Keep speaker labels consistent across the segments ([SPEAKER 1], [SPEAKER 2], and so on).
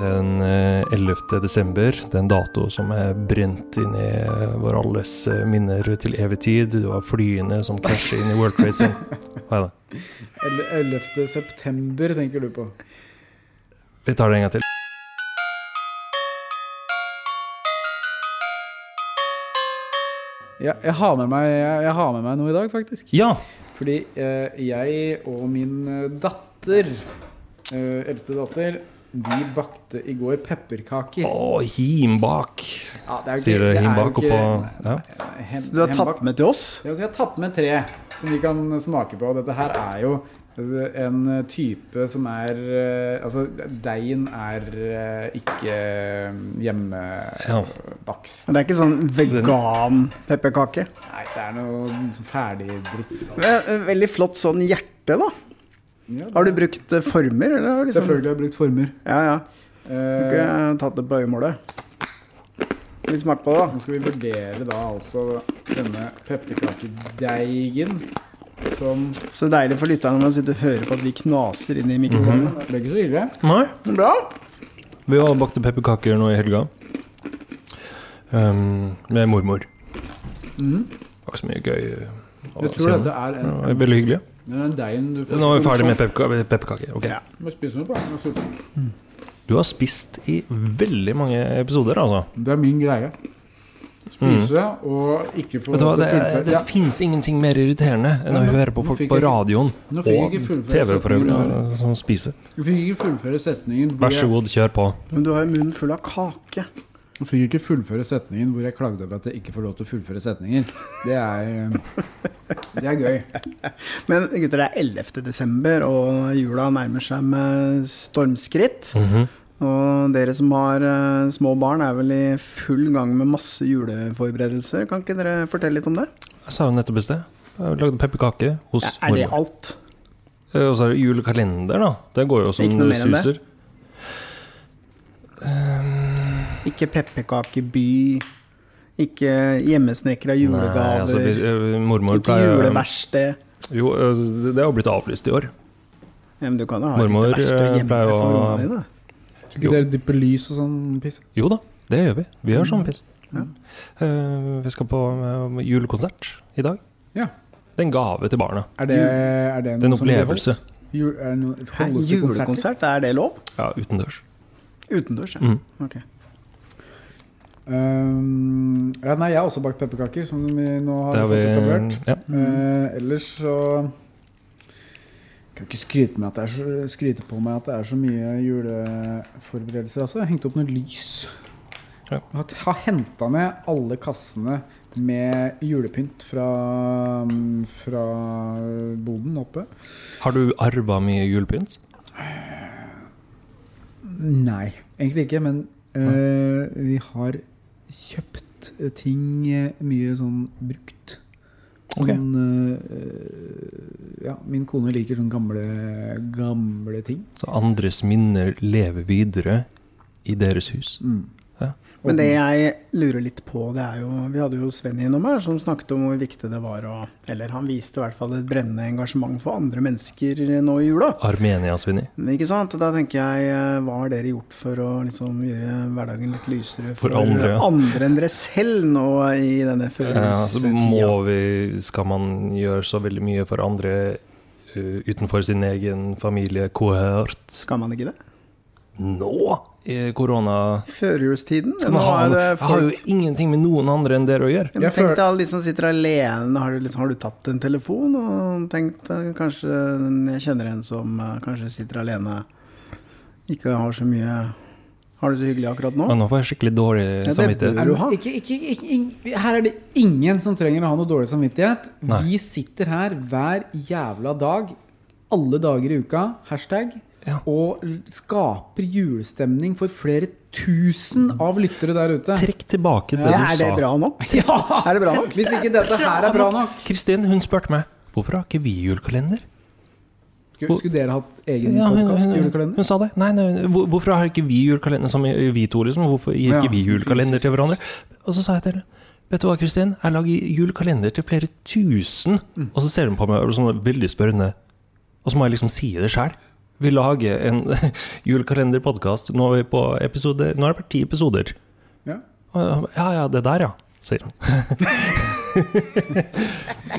[SPEAKER 1] Den eh, 11. desember, den dato som er brent inn i vår alles eh, minner til evig tid. Det var flyene som krasjet inn i World Trade Center. Hva er det?
[SPEAKER 2] Eller 11. september, tenker du på.
[SPEAKER 1] Vi tar det en gang til.
[SPEAKER 2] Ja, jeg, har med meg, jeg, jeg har med meg noe i dag, faktisk.
[SPEAKER 1] Ja!
[SPEAKER 2] Fordi eh, jeg og min eh, datter, eh, eldste datter, vi bakte i går pepperkaker.
[SPEAKER 1] Å, himbak!
[SPEAKER 2] Ja, det er
[SPEAKER 1] Sier
[SPEAKER 2] jo ikke-
[SPEAKER 1] det
[SPEAKER 2] er jo
[SPEAKER 1] himbak
[SPEAKER 2] ikke-
[SPEAKER 1] oppå ja.
[SPEAKER 2] Nei, hem-
[SPEAKER 3] Du har
[SPEAKER 2] hembakt.
[SPEAKER 3] tatt med til oss?
[SPEAKER 2] Ja, så jeg har tatt med tre som vi kan smake på. Dette her er jo altså, en type som er eh, Altså, deigen er eh, ikke eh,
[SPEAKER 1] ja.
[SPEAKER 2] hjemmebakst.
[SPEAKER 3] Det er ikke sånn vegan-pepperkake.
[SPEAKER 2] Nei, det er noe sånn ferdig dritt. altså.
[SPEAKER 3] Ve- Veldig flott sånn hjerte, da.
[SPEAKER 2] Ja,
[SPEAKER 3] Har du brukt eh, former, eller? har du Liksom?
[SPEAKER 2] Selvfølgelig har jeg brukt former.
[SPEAKER 3] Ja, ja. Du har
[SPEAKER 2] Eh,
[SPEAKER 3] ikke tatt det på øyemålet? Vil du smake på det, da?
[SPEAKER 2] Nå skal vi vurdere da altså denne pepperkakedeigen som
[SPEAKER 3] Så deilig for lytterne å sitte og høre på at vi knaser inn i mikrofonen. Mm-hmm.
[SPEAKER 2] Det ble ikke så ille.
[SPEAKER 1] Nei,
[SPEAKER 3] Bra!
[SPEAKER 1] vi har bakt pepperkaker nå i helga. Um, med mormor.
[SPEAKER 2] Mhm.
[SPEAKER 3] Mm.
[SPEAKER 1] Det var ikke så mye gøy. eh, å
[SPEAKER 2] Jeg
[SPEAKER 1] si
[SPEAKER 2] tror
[SPEAKER 1] om.
[SPEAKER 2] dette er en,
[SPEAKER 1] Ja, det er veldig hyggelig.
[SPEAKER 2] den er deigen du får
[SPEAKER 1] Nå er vi ferdig med pepperka- pepperkaker. ok.
[SPEAKER 3] Ja.
[SPEAKER 2] Du må spise den altså. opp, da. Den er sulten.
[SPEAKER 1] Du har spist i veldig mange episoder, altså.
[SPEAKER 2] Det er min greie. Spise og ikke
[SPEAKER 1] Mm.
[SPEAKER 2] få
[SPEAKER 1] Vet du hva, Det,
[SPEAKER 2] fullført.
[SPEAKER 1] det
[SPEAKER 2] Ja.
[SPEAKER 1] fins ingenting mer irriterende enn å
[SPEAKER 2] Men nå-
[SPEAKER 1] høre på
[SPEAKER 2] nå
[SPEAKER 1] folk
[SPEAKER 2] fikk
[SPEAKER 1] på
[SPEAKER 2] jeg-
[SPEAKER 1] radioen
[SPEAKER 2] Nå fikk jeg
[SPEAKER 1] og
[SPEAKER 2] ikke fullføre setningen.
[SPEAKER 1] TV-programmer som spiser.
[SPEAKER 2] Jeg fikk ikke fullføre setningen hvor
[SPEAKER 1] Vær så
[SPEAKER 2] jeg,
[SPEAKER 1] god, kjør på.
[SPEAKER 3] Men du har jo munnen full av kake.
[SPEAKER 2] jeg fikk ikke fullføre setningen hvor jeg klagde over at jeg ikke får lov til å fullføre setninger. Det er, eh, det er gøy.
[SPEAKER 3] Men gutter, det er 11. desember, og jula nærmer seg med stormskritt.
[SPEAKER 1] Mhm.
[SPEAKER 3] Og dere som har eh, små barn, er vel i full gang med masse juleforberedelser. Kan ikke dere fortelle litt om det?
[SPEAKER 1] Jeg sa jo nettopp i sted. Jeg lagde pepperkake hos
[SPEAKER 3] Ja, er det
[SPEAKER 1] mormor.
[SPEAKER 3] alt?
[SPEAKER 1] Eh, Og så er det julekalender, da. Det går jo som
[SPEAKER 3] Ikke noe mer enn det?
[SPEAKER 1] suser.
[SPEAKER 3] Ikke pepperkakeby, ikke hjemmesnekra
[SPEAKER 1] Nei,
[SPEAKER 3] julegaver,
[SPEAKER 1] altså, vi- eh, mormor
[SPEAKER 3] ikke
[SPEAKER 1] pleier
[SPEAKER 3] juleverksted.
[SPEAKER 1] Jo, eh, det har jo blitt avlyst i år.
[SPEAKER 3] Ja, men du kan jo ha
[SPEAKER 1] Mormor,
[SPEAKER 3] et verksted
[SPEAKER 1] eh,
[SPEAKER 3] hjemme
[SPEAKER 1] pleier
[SPEAKER 3] for
[SPEAKER 1] å-
[SPEAKER 3] ungene dine.
[SPEAKER 2] Skal ikke dere dyppe lys og sånn piss?
[SPEAKER 1] Jo da, det gjør vi. Vi gjør sånn piss.
[SPEAKER 3] Ja.
[SPEAKER 1] Eh, vi skal på eh, julekonsert i dag.
[SPEAKER 2] Ja.
[SPEAKER 1] Det er en gave til barna.
[SPEAKER 2] Er det, er det
[SPEAKER 1] Det er en
[SPEAKER 2] noe som blir holdt?
[SPEAKER 1] opplevelse.
[SPEAKER 2] Jul, er det noe,
[SPEAKER 3] Hæ,
[SPEAKER 2] holdes det konserter?
[SPEAKER 3] Julekonsert, er det lov?
[SPEAKER 1] Ja, utendørs.
[SPEAKER 3] Utendørs, ja.
[SPEAKER 1] Mm.
[SPEAKER 3] Ok.
[SPEAKER 2] Um, ja, nei, jeg har også bakt pepperkaker, som vi nå har,
[SPEAKER 1] Det har
[SPEAKER 2] fått
[SPEAKER 1] vi
[SPEAKER 2] etablert.
[SPEAKER 1] ja.
[SPEAKER 2] Eh, ellers så kan jeg ikke skryte, med at det er så, skryte på meg at det er så mye juleforberedelser. Altså. Jeg har hengt opp noe lys.
[SPEAKER 1] Ja.
[SPEAKER 2] Jeg har, har henta ned alle kassene med julepynt fra, mm, fra boden oppe.
[SPEAKER 1] Har du arva mye julepynt?
[SPEAKER 2] Nei, egentlig ikke. Men eh, vi har kjøpt eh, ting eh, mye sånn brukt.
[SPEAKER 1] Ok.
[SPEAKER 2] Sånn, eh, eh, ja, min kone liker sånne gamle, gamle ting.
[SPEAKER 1] Så andres minner lever videre i deres hus.
[SPEAKER 2] Mm.
[SPEAKER 1] Ja.
[SPEAKER 3] Men det jeg lurer litt på, det er jo Vi hadde jo Sven innom her som snakket om hvor viktig det var å Eller han viste i hvert fall et brennende engasjement for andre mennesker nå i jula.
[SPEAKER 1] Armenia, Svinni.
[SPEAKER 3] Ikke sant? Da tenker jeg, eh, hva har dere gjort for å liksom gjøre hverdagen litt lysere for,
[SPEAKER 1] For andre, ja.
[SPEAKER 3] andre enn dere selv nå i denne
[SPEAKER 1] Ja, så
[SPEAKER 3] førjulstida?
[SPEAKER 1] må vi Skal man gjøre så veldig mye for andre eh, utenfor sin egen familie, kohørt?
[SPEAKER 3] Skal man ikke det?
[SPEAKER 1] Nå i korona?
[SPEAKER 3] Førjulstiden?
[SPEAKER 1] Skal
[SPEAKER 3] Nå
[SPEAKER 1] man ha
[SPEAKER 3] er
[SPEAKER 1] noe?
[SPEAKER 3] det
[SPEAKER 1] Jeg har jo
[SPEAKER 3] folk
[SPEAKER 1] ingenting med noen andre enn dere å gjøre.
[SPEAKER 3] Ja,
[SPEAKER 2] Jeg
[SPEAKER 3] men Tenk
[SPEAKER 2] føler-
[SPEAKER 3] deg alle de som sitter alene. Har du, liksom, har du tatt en telefon og tenkt eh, kanskje Jeg kjenner en som eh, kanskje sitter alene, ikke har så mye Har det så hyggelig akkurat nå?
[SPEAKER 1] Men nå får jeg skikkelig dårlig
[SPEAKER 3] det
[SPEAKER 1] samvittighet.
[SPEAKER 3] bør du ha.
[SPEAKER 2] Ikke, ikke, ikke, ikke, her er det ingen som trenger å ha noe dårlig samvittighet.
[SPEAKER 1] Nei.
[SPEAKER 2] Vi sitter her hver jævla dag, alle dager i uka, hashtag,
[SPEAKER 1] Ja.
[SPEAKER 2] og l- skaper julestemning for flere tusen av lyttere der ute.
[SPEAKER 1] Trekk tilbake det
[SPEAKER 3] Ja,
[SPEAKER 1] du
[SPEAKER 3] er det
[SPEAKER 1] sa.
[SPEAKER 3] bra nok?
[SPEAKER 2] Ja!
[SPEAKER 3] Er det bra nok?
[SPEAKER 2] Hvis ikke dette her er bra nok.
[SPEAKER 1] Kristin hun spurte meg hvorfor har ikke vi julekalender.
[SPEAKER 2] Skulle, skulle dere hatt egen
[SPEAKER 1] Ja, hun,
[SPEAKER 2] podkast?
[SPEAKER 1] hun,
[SPEAKER 2] Julekalender?
[SPEAKER 1] hun sa det. Nei, nei, hvor- hvorfor har ikke vi julekalender som i- vi to, liksom? Hvorfor gir
[SPEAKER 2] Ja,
[SPEAKER 1] ikke vi julekalender til hverandre? Og så sa jeg til henne Vet du hva, Kristin? Jeg lager julekalender til flere
[SPEAKER 2] Mm.
[SPEAKER 1] tusen. Og så ser hun på meg og er sånn veldig spørrende. Og så må jeg liksom si det sjøl. Vi lager en julekalenderpodkast. Nå, er vi på episode, nå har det vært ti episoder.
[SPEAKER 2] Ja.
[SPEAKER 1] Og jeg ba, Ja ja, det der, ja, sier han.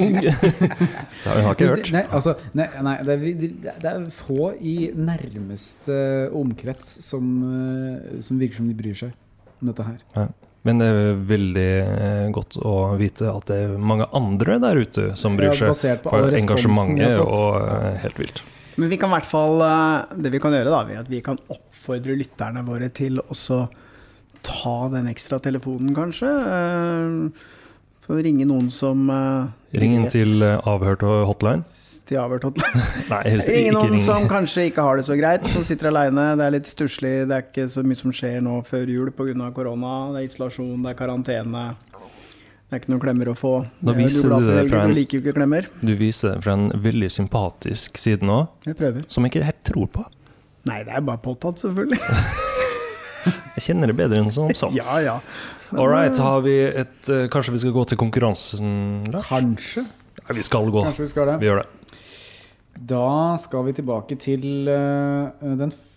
[SPEAKER 1] det har hun ikke hørt.
[SPEAKER 2] Nei, altså, nei, nei det, er, det det er få i nærmeste omkrets som, eh, som virker som de bryr seg om dette her.
[SPEAKER 1] Men det er veldig eh, godt å vite at det er mange andre der ute som bryr
[SPEAKER 2] Ja,
[SPEAKER 1] seg.
[SPEAKER 2] basert på all
[SPEAKER 1] For
[SPEAKER 2] responsen vi
[SPEAKER 1] engasjementet
[SPEAKER 2] har fått.
[SPEAKER 1] og eh, helt vilt.
[SPEAKER 3] Men vi kan i hvert fall eh, Det vi kan gjøre, da, er at vi kan oppfordre lytterne våre til også ta den ekstra telefonen, kanskje. eh, For å ringe noen som eh,
[SPEAKER 1] Ring inn
[SPEAKER 3] vet-
[SPEAKER 1] til eh, avhørt og hotline.
[SPEAKER 3] til avhørt hotline.
[SPEAKER 1] Nei,
[SPEAKER 3] Ringe
[SPEAKER 1] ikke
[SPEAKER 3] noen
[SPEAKER 1] ring.
[SPEAKER 3] som kanskje ikke har det så greit, som sitter aleine. Det er litt stusslig, det er ikke så mye som skjer nå før jul pga. korona. Det er isolasjon, det er karantene. Det er ikke noen klemmer å få.
[SPEAKER 1] Da
[SPEAKER 3] Det er jo
[SPEAKER 1] viser du det
[SPEAKER 3] bladforelder,
[SPEAKER 1] fra en-
[SPEAKER 3] Du liker jo ikke klemmer.
[SPEAKER 1] Du viser det fra en veldig sympatisk side nå,
[SPEAKER 3] Jeg prøver.
[SPEAKER 1] som jeg ikke helt tror på.
[SPEAKER 3] Nei, det er bare påtatt, selvfølgelig.
[SPEAKER 1] Jeg kjenner det bedre enn som så.
[SPEAKER 3] ja, ja.
[SPEAKER 1] All right, har vi et eh, Kanskje vi skal gå til konkurransen, Lars?
[SPEAKER 2] Kanskje.
[SPEAKER 1] Nei, vi skal gå.
[SPEAKER 2] Kanskje vi skal det.
[SPEAKER 1] Vi gjør det.
[SPEAKER 2] Da skal vi tilbake til eh, den f-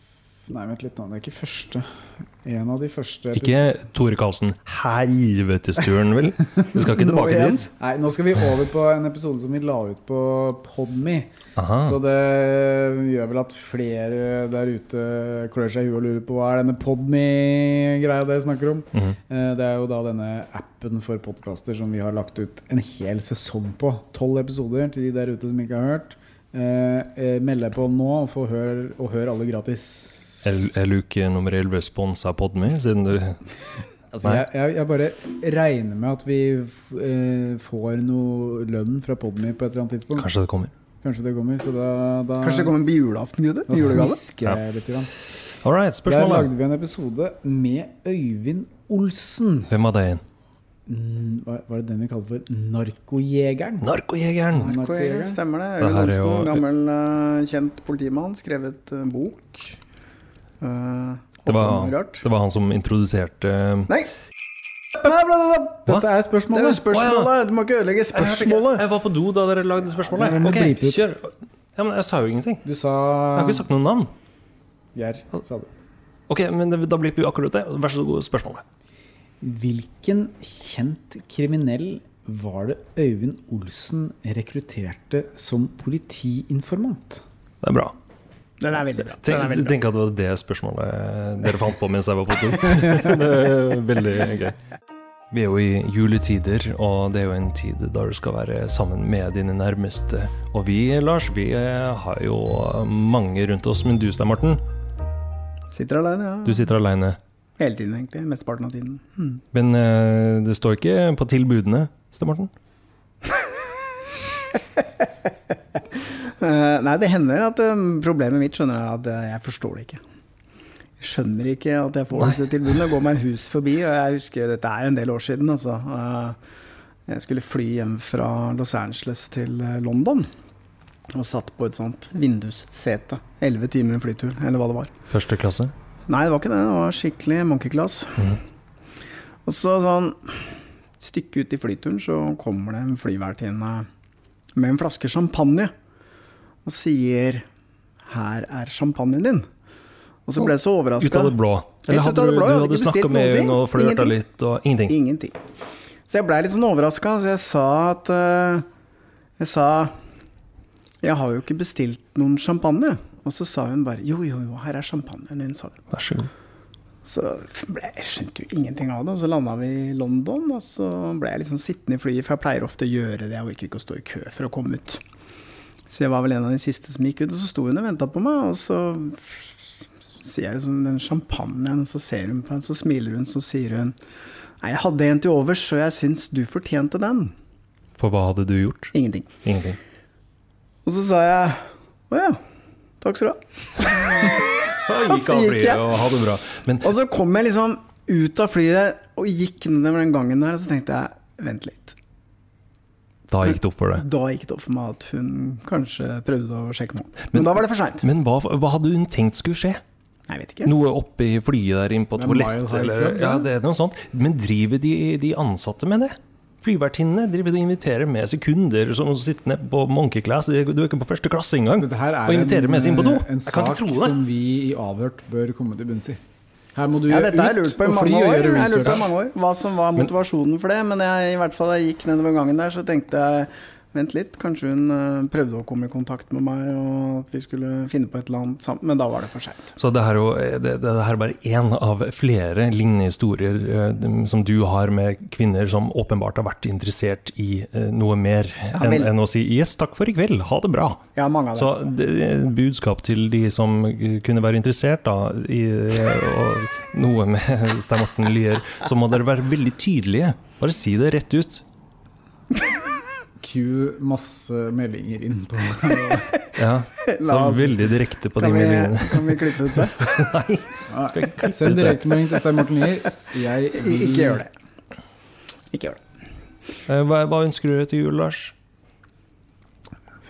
[SPEAKER 2] Nei, vent litt nå. Det er ikke første. En av de første
[SPEAKER 1] Ikke Tore Karlsen. Helvetesturen, vel? Vi skal ikke
[SPEAKER 3] Nå
[SPEAKER 1] tilbake
[SPEAKER 3] igjen.
[SPEAKER 1] dit.
[SPEAKER 2] Nei, nå skal vi over på en episode som vi la ut på Podme.
[SPEAKER 1] Aha.
[SPEAKER 2] Så det gjør vel at flere der ute klør seg i huet og lurer på hva er denne Podme-greia dere snakker om.
[SPEAKER 1] Mhm.
[SPEAKER 2] Eh, Det er jo da denne appen for podkaster som vi har lagt ut en hel sesong på. Tolv episoder til de der ute som ikke har hørt. Eh, eh, Meld deg på nå og få hør, og hør alle gratis.
[SPEAKER 1] Er er luke nummer 11 sponsa Podme, siden du
[SPEAKER 2] Altså, jeg, jeg, jeg bare regner med at vi eh, får noe lønn fra Podme på et eller annet tidspunkt.
[SPEAKER 1] Kanskje det kommer.
[SPEAKER 2] Kanskje det kommer. Så da, da
[SPEAKER 3] Kanskje det kommer på julaften, gutter?
[SPEAKER 2] da
[SPEAKER 3] Julegave?
[SPEAKER 2] smisker jeg litt. Grann.
[SPEAKER 1] All right,
[SPEAKER 2] Der
[SPEAKER 1] spørsmålet.
[SPEAKER 2] lagde vi en episode med Øyvind Olsen.
[SPEAKER 1] Hvem var det igjen?
[SPEAKER 2] Mm, Var var det den vi kalte for Narkojegeren?
[SPEAKER 1] Narkojegeren!
[SPEAKER 3] Narkojeger, Stemmer det.
[SPEAKER 1] Det
[SPEAKER 3] Øyvind
[SPEAKER 1] her er jo-
[SPEAKER 3] Olsen, sånn gammel eh, kjent politimann, skrevet eh, bok. Eh,
[SPEAKER 1] Det var,
[SPEAKER 3] om Rart.
[SPEAKER 1] det var han som introduserte eh,
[SPEAKER 3] Nei! Nei, bla, bla, bla.
[SPEAKER 2] Dette er
[SPEAKER 3] Det er jo
[SPEAKER 2] spørsmålet.
[SPEAKER 3] spørsmålet! Du må ikke ødelegge spørsmålet.
[SPEAKER 1] Jeg var på do da dere lagde spørsmålet.
[SPEAKER 2] Ja, men
[SPEAKER 1] Ok,
[SPEAKER 2] drip ut.
[SPEAKER 1] kjør. Ja, men jeg sa jo ingenting.
[SPEAKER 2] Du sa
[SPEAKER 1] Jeg har ikke sagt noe navn.
[SPEAKER 2] Geir, sa du.
[SPEAKER 1] Ok, men det- da blir det akkurat det. Vær så god, spørsmålet.
[SPEAKER 2] Hvilken kjent kriminell var det Øyvind Olsen rekrutterte som politiinformant?
[SPEAKER 1] Det er bra.
[SPEAKER 3] Den er veldig bra. Den er
[SPEAKER 1] Tenk,
[SPEAKER 3] veldig bra.
[SPEAKER 1] tenk at det var det spørsmålet eh, dere fant på mens jeg var på do. Det er veldig gøy. Vi er jo i juletider, og det er jo en tid da du skal være sammen med dine nærmeste. Og vi, Lars, vi eh, har jo mange rundt oss, men du, Stein Morten,
[SPEAKER 3] Sitter aleine, ja.
[SPEAKER 1] du sitter aleine.
[SPEAKER 3] Hele tiden, egentlig. Mesteparten av tiden. Hmm.
[SPEAKER 1] Men eh, det står ikke på tilbudene, Stein Morten?
[SPEAKER 3] Eh, nei, det hender at eh, problemet mitt skjønner jeg at eh, jeg forstår det ikke. Jeg skjønner ikke at jeg får disse tilbudene. Jeg går meg hus forbi, og jeg husker dette er en del år siden, altså. Eh, jeg skulle fly hjem fra Los Angeles til eh, London. Og satt på et sånt vindussete. Elleve timer flytur, eller hva det var.
[SPEAKER 1] Første klasse?
[SPEAKER 3] Nei, det var ikke det. Det var skikkelig monkey class.
[SPEAKER 1] Mhm.
[SPEAKER 3] Og så sånn et stykke ut i flyturen så kommer det en flyvertinne med en flaske champagne og sier 'Her er champagnen din'. Og så ble jeg så
[SPEAKER 1] Ut av det
[SPEAKER 3] overraska.
[SPEAKER 1] blå? Eller
[SPEAKER 3] Helt ut
[SPEAKER 1] hadde
[SPEAKER 3] av
[SPEAKER 1] du,
[SPEAKER 3] det blå,
[SPEAKER 1] du
[SPEAKER 3] jeg hadde
[SPEAKER 1] hadde
[SPEAKER 3] ikke
[SPEAKER 1] snakka
[SPEAKER 3] bestilt noen
[SPEAKER 1] med
[SPEAKER 3] ting.
[SPEAKER 1] henne og flørta
[SPEAKER 3] Ingenting.
[SPEAKER 1] litt, og ingenting?
[SPEAKER 3] Ingenting. Så jeg blei litt sånn overraska, så jeg sa at eh, Jeg sa 'Jeg har jo ikke bestilt noen champagne'. Og så sa hun bare 'Jo, jo, jo, her er champagnen din', sa hun.
[SPEAKER 1] Vær så god.
[SPEAKER 3] Så ble, jeg skjønte jo ingenting av det, og så landa vi i London. Og så ble jeg liksom sittende i flyet, for jeg pleier ofte å gjøre det. Jeg orker ikke å stå i kø for å komme ut. Så jeg var vel en av de siste som gikk ut, og så sto hun og venta på meg. Og så ser jeg liksom den champagnen, og så ser hun på den, så smiler hun, så sier hun Nei, jeg hadde en til overs, og jeg syns du fortjente den.
[SPEAKER 1] For hva hadde du gjort?
[SPEAKER 3] Ingenting.
[SPEAKER 1] Ingenting.
[SPEAKER 3] Og så sa jeg å ja, takk skal du ha.
[SPEAKER 1] Da gikk
[SPEAKER 3] Så
[SPEAKER 1] av
[SPEAKER 3] gikk
[SPEAKER 1] flyet
[SPEAKER 3] jeg.
[SPEAKER 1] og ha det bra. Men
[SPEAKER 3] Og så kom jeg liksom ut av flyet og gikk nedover den gangen der, og så tenkte jeg vent litt.
[SPEAKER 1] da gikk det opp for deg.
[SPEAKER 3] Da gikk det opp for meg at hun kanskje prøvde å sjekke meg opp. Men da var det for seint.
[SPEAKER 1] Men hva, hva hadde hun tenkt skulle skje?
[SPEAKER 3] Jeg vet ikke.
[SPEAKER 1] Noe oppe i flyet der inne på
[SPEAKER 2] Men Mile
[SPEAKER 1] toalettet,
[SPEAKER 2] High
[SPEAKER 1] eller
[SPEAKER 2] Club,
[SPEAKER 1] ja,
[SPEAKER 2] ja.
[SPEAKER 1] det er noe sånt. Men driver de, de ansatte med det? flyvertinnene driver og inviterer med seg kunder som sitter nede på Monkey Class. Du er ikke på første klasse engang.
[SPEAKER 2] Dette her er
[SPEAKER 1] Og inviterer med seg inn på do.
[SPEAKER 2] eh, en
[SPEAKER 1] Jeg kan ikke
[SPEAKER 2] sak
[SPEAKER 1] tro det.
[SPEAKER 2] som vi i Avhørt bør komme til bunns i. Her må du
[SPEAKER 3] Ja, dette har jeg
[SPEAKER 2] ut
[SPEAKER 3] lurt på i
[SPEAKER 2] og fly
[SPEAKER 3] mange
[SPEAKER 2] og gjøre
[SPEAKER 3] år. Jeg lurte på i
[SPEAKER 2] research.
[SPEAKER 3] mange år Hva som var motivasjonen for det. Men jeg, i hvert fall da jeg gikk nedover gangen der, så tenkte jeg Vent litt, kanskje hun eh, prøvde å komme i kontakt med meg, og at vi skulle finne på et eller annet sammen. Men da var det for seint.
[SPEAKER 1] Så det her, er jo- det, det her er bare én av flere lignende historier eh, dem som du har med kvinner som åpenbart har vært interessert i eh, noe mer
[SPEAKER 3] Ja,
[SPEAKER 1] enn
[SPEAKER 3] vel.
[SPEAKER 1] enn å si 'yes, takk for i kveld, ha det bra'.
[SPEAKER 3] Jeg har mange av dem.
[SPEAKER 1] Så det, budskap til de som kunne være interessert da, i og noe med Stein Morten Lier, så må dere være veldig tydelige. Bare si det rett ut.
[SPEAKER 2] Q masse meldinger inn på
[SPEAKER 1] Ja, så
[SPEAKER 3] La oss-
[SPEAKER 1] veldig direkte på de
[SPEAKER 3] Kan vi,
[SPEAKER 1] meldingene.
[SPEAKER 3] kan vi klippe ut det?
[SPEAKER 1] Nei, skal ikke klippe
[SPEAKER 2] Send
[SPEAKER 1] ut det.
[SPEAKER 2] direktemelding til Stein Morten Lier. Jeg vil
[SPEAKER 3] Ikke gjør det. Ikke gjør det.
[SPEAKER 1] Eh, Hva, hva ønsker du til jul, Lars?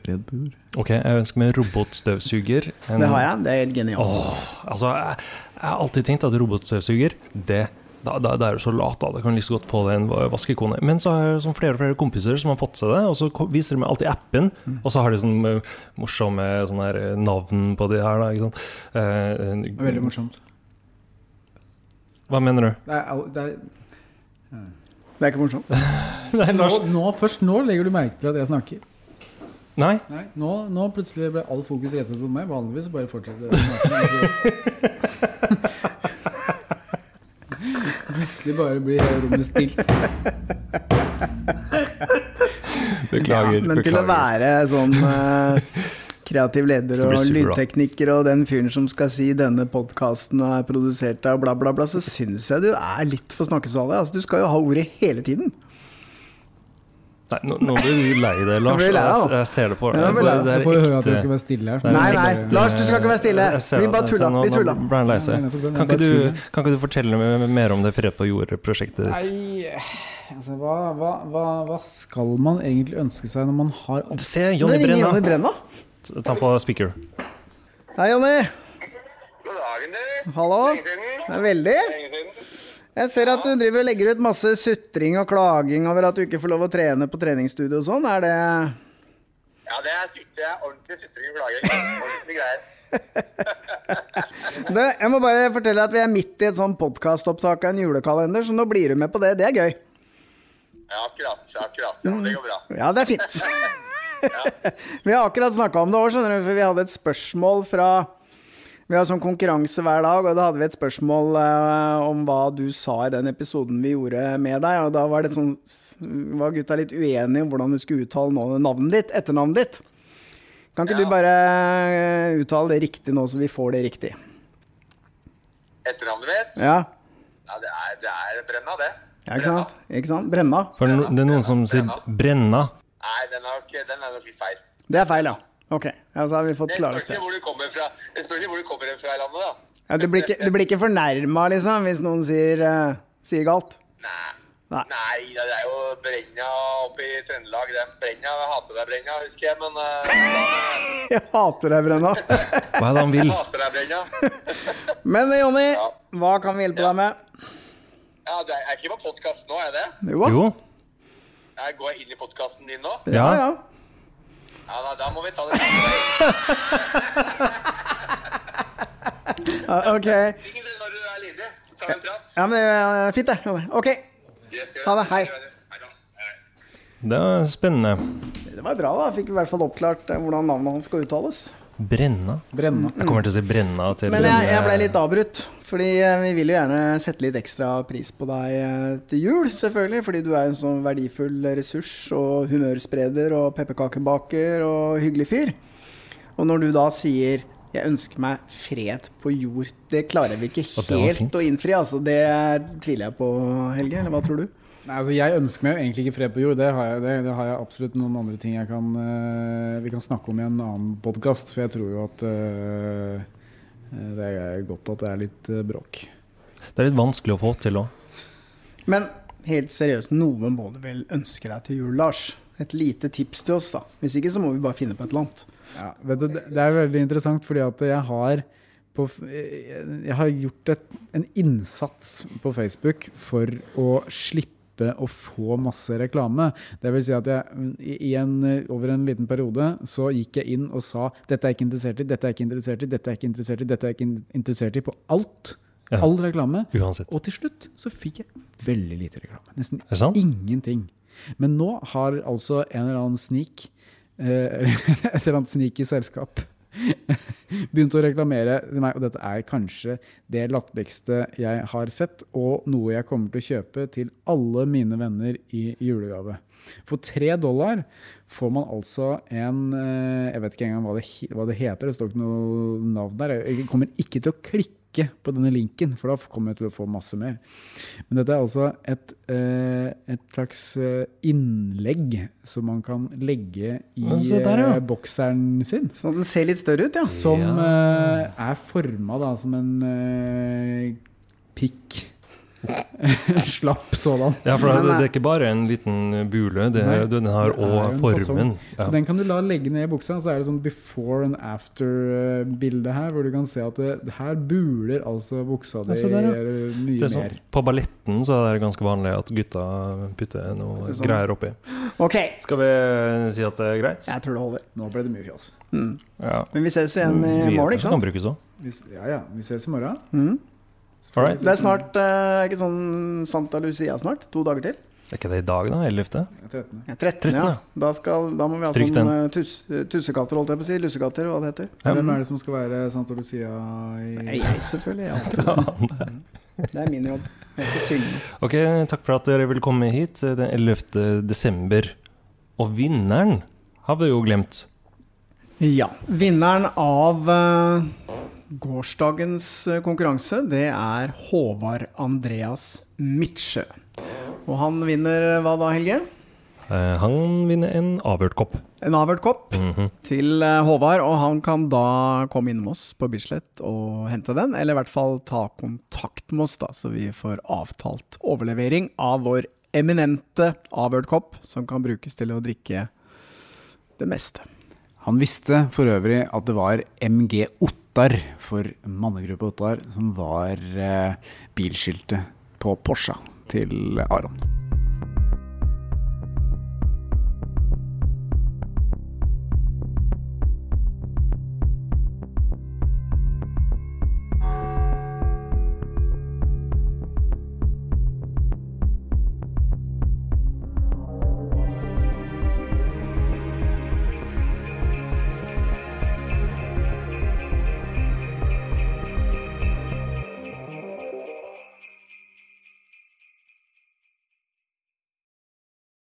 [SPEAKER 2] Fred på jord.
[SPEAKER 1] Ok, jeg ønsker meg en robotstøvsuger. En,
[SPEAKER 3] Det har jeg. Det er helt genialt.
[SPEAKER 1] Åh, altså, jeg, jeg har alltid tenkt at robotstøvsuger, det da, da, da er du så lat, da. Da kan du like så godt få deg en va- vaskekone. Men så har jeg sånn flere og flere kompiser som har fått seg det, og så ko- viser de meg alltid appen. Og så har de sånn eh, morsomme sånne her, eh, navn på de her, da. Ikke sant? Eh,
[SPEAKER 2] Veldig morsomt.
[SPEAKER 1] hva mener du?
[SPEAKER 2] Det er, al- det er,
[SPEAKER 3] Det er ikke morsomt.
[SPEAKER 1] Nei,
[SPEAKER 2] nå,
[SPEAKER 1] Lars.
[SPEAKER 2] nå, først nå legger du merke til at jeg snakker.
[SPEAKER 1] Nei?
[SPEAKER 2] Nei, nå, nå plutselig ble all fokus rettet på meg. Vanligvis så bare fortsetter jeg å snakke. Plutselig bare blir hele rommet stilt.
[SPEAKER 1] Beklager.
[SPEAKER 3] Ja, men til å
[SPEAKER 1] beklager.
[SPEAKER 3] være sånn eh, kreativ leder
[SPEAKER 1] Du blir
[SPEAKER 3] og
[SPEAKER 1] sur, da.
[SPEAKER 3] lydtekniker og den fyren som skal si 'denne podkasten er produsert av bla, bla, bla', så syns jeg du er litt for snakkesalig. Altså, du skal jo ha ordet hele tiden.
[SPEAKER 1] Nei, nå, nå blir du lei deg, Lars.
[SPEAKER 3] blir lei
[SPEAKER 1] Jeg,
[SPEAKER 3] deg, da.
[SPEAKER 1] jeg ser det på
[SPEAKER 3] Ja,
[SPEAKER 1] deg.
[SPEAKER 3] jeg
[SPEAKER 1] Det
[SPEAKER 3] blir lei
[SPEAKER 1] er
[SPEAKER 2] Jeg får jo høre at jeg skal
[SPEAKER 1] ekte-
[SPEAKER 2] være stille her.
[SPEAKER 1] Nei,
[SPEAKER 2] så
[SPEAKER 3] Nei,
[SPEAKER 2] jeg
[SPEAKER 3] nei,
[SPEAKER 2] bare-
[SPEAKER 3] Lars, du skal ikke være stille.
[SPEAKER 1] Jeg ser
[SPEAKER 3] Vi
[SPEAKER 1] at-
[SPEAKER 3] bare
[SPEAKER 1] jeg ser
[SPEAKER 3] tulla.
[SPEAKER 1] nå-
[SPEAKER 3] Vi
[SPEAKER 1] nå
[SPEAKER 3] tulla.
[SPEAKER 1] ble han lei seg.
[SPEAKER 2] Nei, nettopp,
[SPEAKER 1] Kan
[SPEAKER 2] jeg bare
[SPEAKER 1] ikke du,
[SPEAKER 2] tuller.
[SPEAKER 1] kan ikke du fortelle meg mer om det Fred på jordet-prosjektet ditt?
[SPEAKER 2] Nei, altså, hva, hva, hva, hva skal man egentlig ønske seg når man har alt?
[SPEAKER 1] Se,
[SPEAKER 3] Det
[SPEAKER 1] Jonny
[SPEAKER 3] ringer Jonny
[SPEAKER 1] Brenna.
[SPEAKER 3] Brenna.
[SPEAKER 1] Ta på speaker.
[SPEAKER 3] Hei, Jonny.
[SPEAKER 4] God dagen, du.
[SPEAKER 3] Hallo.
[SPEAKER 4] Lenge siden.
[SPEAKER 3] Det er veldig.
[SPEAKER 4] Lenge siden.
[SPEAKER 3] Jeg ser at du driver og legger ut masse sutring og klaging over at du ikke får lov å trene på treningsstudio og sånn. Er det
[SPEAKER 4] Ja, det er, sut- det er ordentlig sutring og klaging. Ordentlig greier.
[SPEAKER 3] Du, jeg må bare fortelle deg at vi er midt i et sånn podkastopptak av en julekalender, så nå blir du med på det. Det er gøy.
[SPEAKER 4] Ja, akkurat. akkurat. Ja, men det går bra.
[SPEAKER 3] Ja, det er fint. vi har akkurat snakka om det òg, skjønner du, for vi hadde et spørsmål fra Vi har sånn konkurranse hver dag, og da hadde vi et spørsmål eh, om hva du sa i den episoden vi gjorde med deg, og da var, det sånn, var gutta litt uenige om hvordan du skulle uttale nå- navnet ditt, etternavnet ditt. Kan ikke
[SPEAKER 4] Ja.
[SPEAKER 3] du bare eh, uttale det riktig nå, så vi får det riktig?
[SPEAKER 4] Etternavnet mitt?
[SPEAKER 3] Ja,
[SPEAKER 4] Ja, det er, det er Brenna, det.
[SPEAKER 3] ja ikke sant? Ikke sant? Brenna.
[SPEAKER 1] For no, det er noen som sier 'brenna'.
[SPEAKER 4] Nei, den er nok, den er nok litt feil.
[SPEAKER 3] Det er feil, ja. Ok, ja, så har vi fått
[SPEAKER 4] Det
[SPEAKER 3] klarlagt det.
[SPEAKER 4] spørs jo hvor du kommer fra. Det spørs jo hvor du kommer fra i landet, da.
[SPEAKER 3] Ja, du, blir ikke, du blir ikke fornærma, liksom, hvis noen sier, eh, sier galt?
[SPEAKER 4] Nei.
[SPEAKER 3] Nei.
[SPEAKER 4] Nei, ja, det er jo Brenna oppe i Trøndelag. Den Brenna, jeg hater deg, Brenna, husker jeg, men eh,
[SPEAKER 3] Jeg hater deg, Brenna.
[SPEAKER 1] Hva er det han
[SPEAKER 4] jeg
[SPEAKER 1] vil?
[SPEAKER 4] hater deg, Brenna.
[SPEAKER 3] Men eh, Jonny,
[SPEAKER 4] Ja.
[SPEAKER 3] hva kan vi hjelpe deg med?
[SPEAKER 4] Ja, det er, jeg er ikke på podkast nå, er jeg det?
[SPEAKER 3] Jo.
[SPEAKER 1] Jo?
[SPEAKER 4] Jeg går jeg inn i podkasten din nå?
[SPEAKER 3] Ja, ja.
[SPEAKER 1] Ja?
[SPEAKER 4] Ja, da, da må vi ta det samme.
[SPEAKER 3] ja. Ok.
[SPEAKER 4] Ring det når du er ledig, så tar vi en prat.
[SPEAKER 3] Ja, men eh, Fint, det. Jonny. Ok.
[SPEAKER 4] Yes, gjør
[SPEAKER 3] Ha det, hei.
[SPEAKER 4] Gjør Hei da. Hei.
[SPEAKER 1] Det er spennende.
[SPEAKER 3] Det var bra, da. Fikk i hvert fall oppklart eh, hvordan navnet hans skal uttales.
[SPEAKER 1] Brenna.
[SPEAKER 2] Brenna.
[SPEAKER 1] Jeg kommer til å si 'brenna' til
[SPEAKER 3] Men jeg, jeg ble
[SPEAKER 1] eh,
[SPEAKER 3] litt avbrutt, fordi eh, vi vil jo gjerne sette litt ekstra pris på deg eh, til jul, selvfølgelig. Fordi du er en sånn verdifull ressurs og humørspreder og pepperkakebaker og hyggelig fyr. Og når du da sier 'jeg ønsker meg fred på jord', det klarer vi ikke
[SPEAKER 1] Og det var
[SPEAKER 3] helt
[SPEAKER 1] fint.
[SPEAKER 3] å innfri. Altså, det tviler jeg på, Helge. Eller hva tror du?
[SPEAKER 2] Nei, altså Jeg ønsker meg jo egentlig ikke fred på jord. Det har jeg, det, det har jeg absolutt noen andre ting jeg kan, eh, vi kan snakke om i en annen podkast. For jeg tror jo at eh, det er godt at det er litt eh, bråk.
[SPEAKER 1] Det er litt vanskelig å få til òg.
[SPEAKER 3] Men helt seriøst, noe må du vel ønske deg til jul, Lars? Et lite tips til oss, da. Hvis ikke så må vi bare finne på et eller annet.
[SPEAKER 2] Ja, vet du, det det er veldig interessant, fordi at jeg har, på, f- jeg jeg har gjort et, en innsats på Facebook for å slippe slippe å få masse reklame. Det vil si at jeg i i en, over en liten periode så gikk jeg inn og sa dette er jeg ikke interessert i, dette er jeg ikke interessert i, dette er jeg ikke interessert i, dette er jeg ikke in- interessert i, på alt.
[SPEAKER 1] Ja.
[SPEAKER 2] All reklame.
[SPEAKER 1] Uansett.
[SPEAKER 2] Og til slutt så fikk jeg veldig lite reklame. Nesten
[SPEAKER 1] det sant?
[SPEAKER 2] ingenting. Men nå har altså en eller annen snik, eh, et eller annet snik i selskap, begynt å reklamere til meg, og dette er kanskje det latterligste jeg har sett, og noe jeg kommer til å kjøpe til alle mine venner i julegave. For tre dollar får man altså en eh, Jeg vet ikke engang hva det, he- hva det heter, det står ikke noe navn der. Jeg kommer ikke til å klikke på denne linken, for da kommer jeg til å få masse mer. Men dette er altså et, eh, et slags eh, innlegg som man kan legge i
[SPEAKER 1] Ja, se der, ja.
[SPEAKER 2] eh, bokseren sin.
[SPEAKER 3] Sånn at den ser litt større ut, ja.
[SPEAKER 1] Mm.
[SPEAKER 2] Som eh, er forma da som en eh, pikk. Slapp sådan.
[SPEAKER 1] Ja, for det,
[SPEAKER 3] Men, eh,
[SPEAKER 1] det er ikke bare en liten bule, det,
[SPEAKER 2] Nei,
[SPEAKER 1] den har
[SPEAKER 2] det er jo
[SPEAKER 1] òg
[SPEAKER 2] en
[SPEAKER 1] formen.
[SPEAKER 2] fasong.
[SPEAKER 1] Ja.
[SPEAKER 2] Så den kan du la legge ned i buksa, så er det sånn before and after-bilde her, hvor du kan se at det, her buler altså buksa di
[SPEAKER 1] Ja, se der, ja.
[SPEAKER 2] eh,
[SPEAKER 1] Det
[SPEAKER 2] mye
[SPEAKER 1] er sånn,
[SPEAKER 2] mer.
[SPEAKER 1] på balletten så er det ganske vanlig at gutta putter noe
[SPEAKER 3] Putter sånn.
[SPEAKER 1] greier oppi.
[SPEAKER 3] Ok,
[SPEAKER 1] Skal vi eh, si at det er greit?
[SPEAKER 3] jeg tror det holder.
[SPEAKER 2] Nå ble det mye fjas.
[SPEAKER 3] Mm.
[SPEAKER 1] Ja.
[SPEAKER 3] Men Mm. vi ses igjen i
[SPEAKER 1] Nyheter
[SPEAKER 3] morgen, eh, ikke
[SPEAKER 1] som kan
[SPEAKER 3] sant?
[SPEAKER 1] brukes òg.
[SPEAKER 2] Hvis- Ja ja, vi ses i morgen.
[SPEAKER 3] Mm.
[SPEAKER 1] All right.
[SPEAKER 3] Det er snart eh, ikke sånn Santa Lucia snart? To dager til?
[SPEAKER 1] Er ikke det i dag, da? 11.?
[SPEAKER 2] Jeg er 13.
[SPEAKER 3] Ja, 13,
[SPEAKER 1] 13,
[SPEAKER 3] ja.
[SPEAKER 1] ja.
[SPEAKER 3] Da, skal, da må vi ha
[SPEAKER 1] Stryk
[SPEAKER 3] sånn eh, tus, tussekatter, holdt jeg på å si. Lussekatter, hva det heter.
[SPEAKER 1] Ja.
[SPEAKER 2] Hvem er det som skal være Santa Lucia
[SPEAKER 3] Nei,
[SPEAKER 2] i
[SPEAKER 3] jeg, selvfølgelig. Jeg alltid. Det er min jobb. Jeg skal synge.
[SPEAKER 1] Ok, takk for at dere ville komme hit eh, den 11. desember. Og vinneren har vi jo glemt.
[SPEAKER 3] Ja. Vinneren av eh, gårsdagens eh, konkurranse, det er Håvard Andreas Midtsjø. Og han vinner hva da, Helge?
[SPEAKER 1] Eh, Han vinner en avhørt kopp.
[SPEAKER 3] En avhørt kopp
[SPEAKER 1] Mhm.
[SPEAKER 3] til eh, Håvard, og han kan da komme innom oss på Bislett og hente den, eller i hvert fall ta kontakt med oss, da, så vi får avtalt overlevering av vår eminente avhørt kopp, som kan brukes til å drikke det meste.
[SPEAKER 2] Han visste for øvrig at det var MG Ottar for mannegruppe Ottar som var eh, bilskiltet på Porscha til Aron.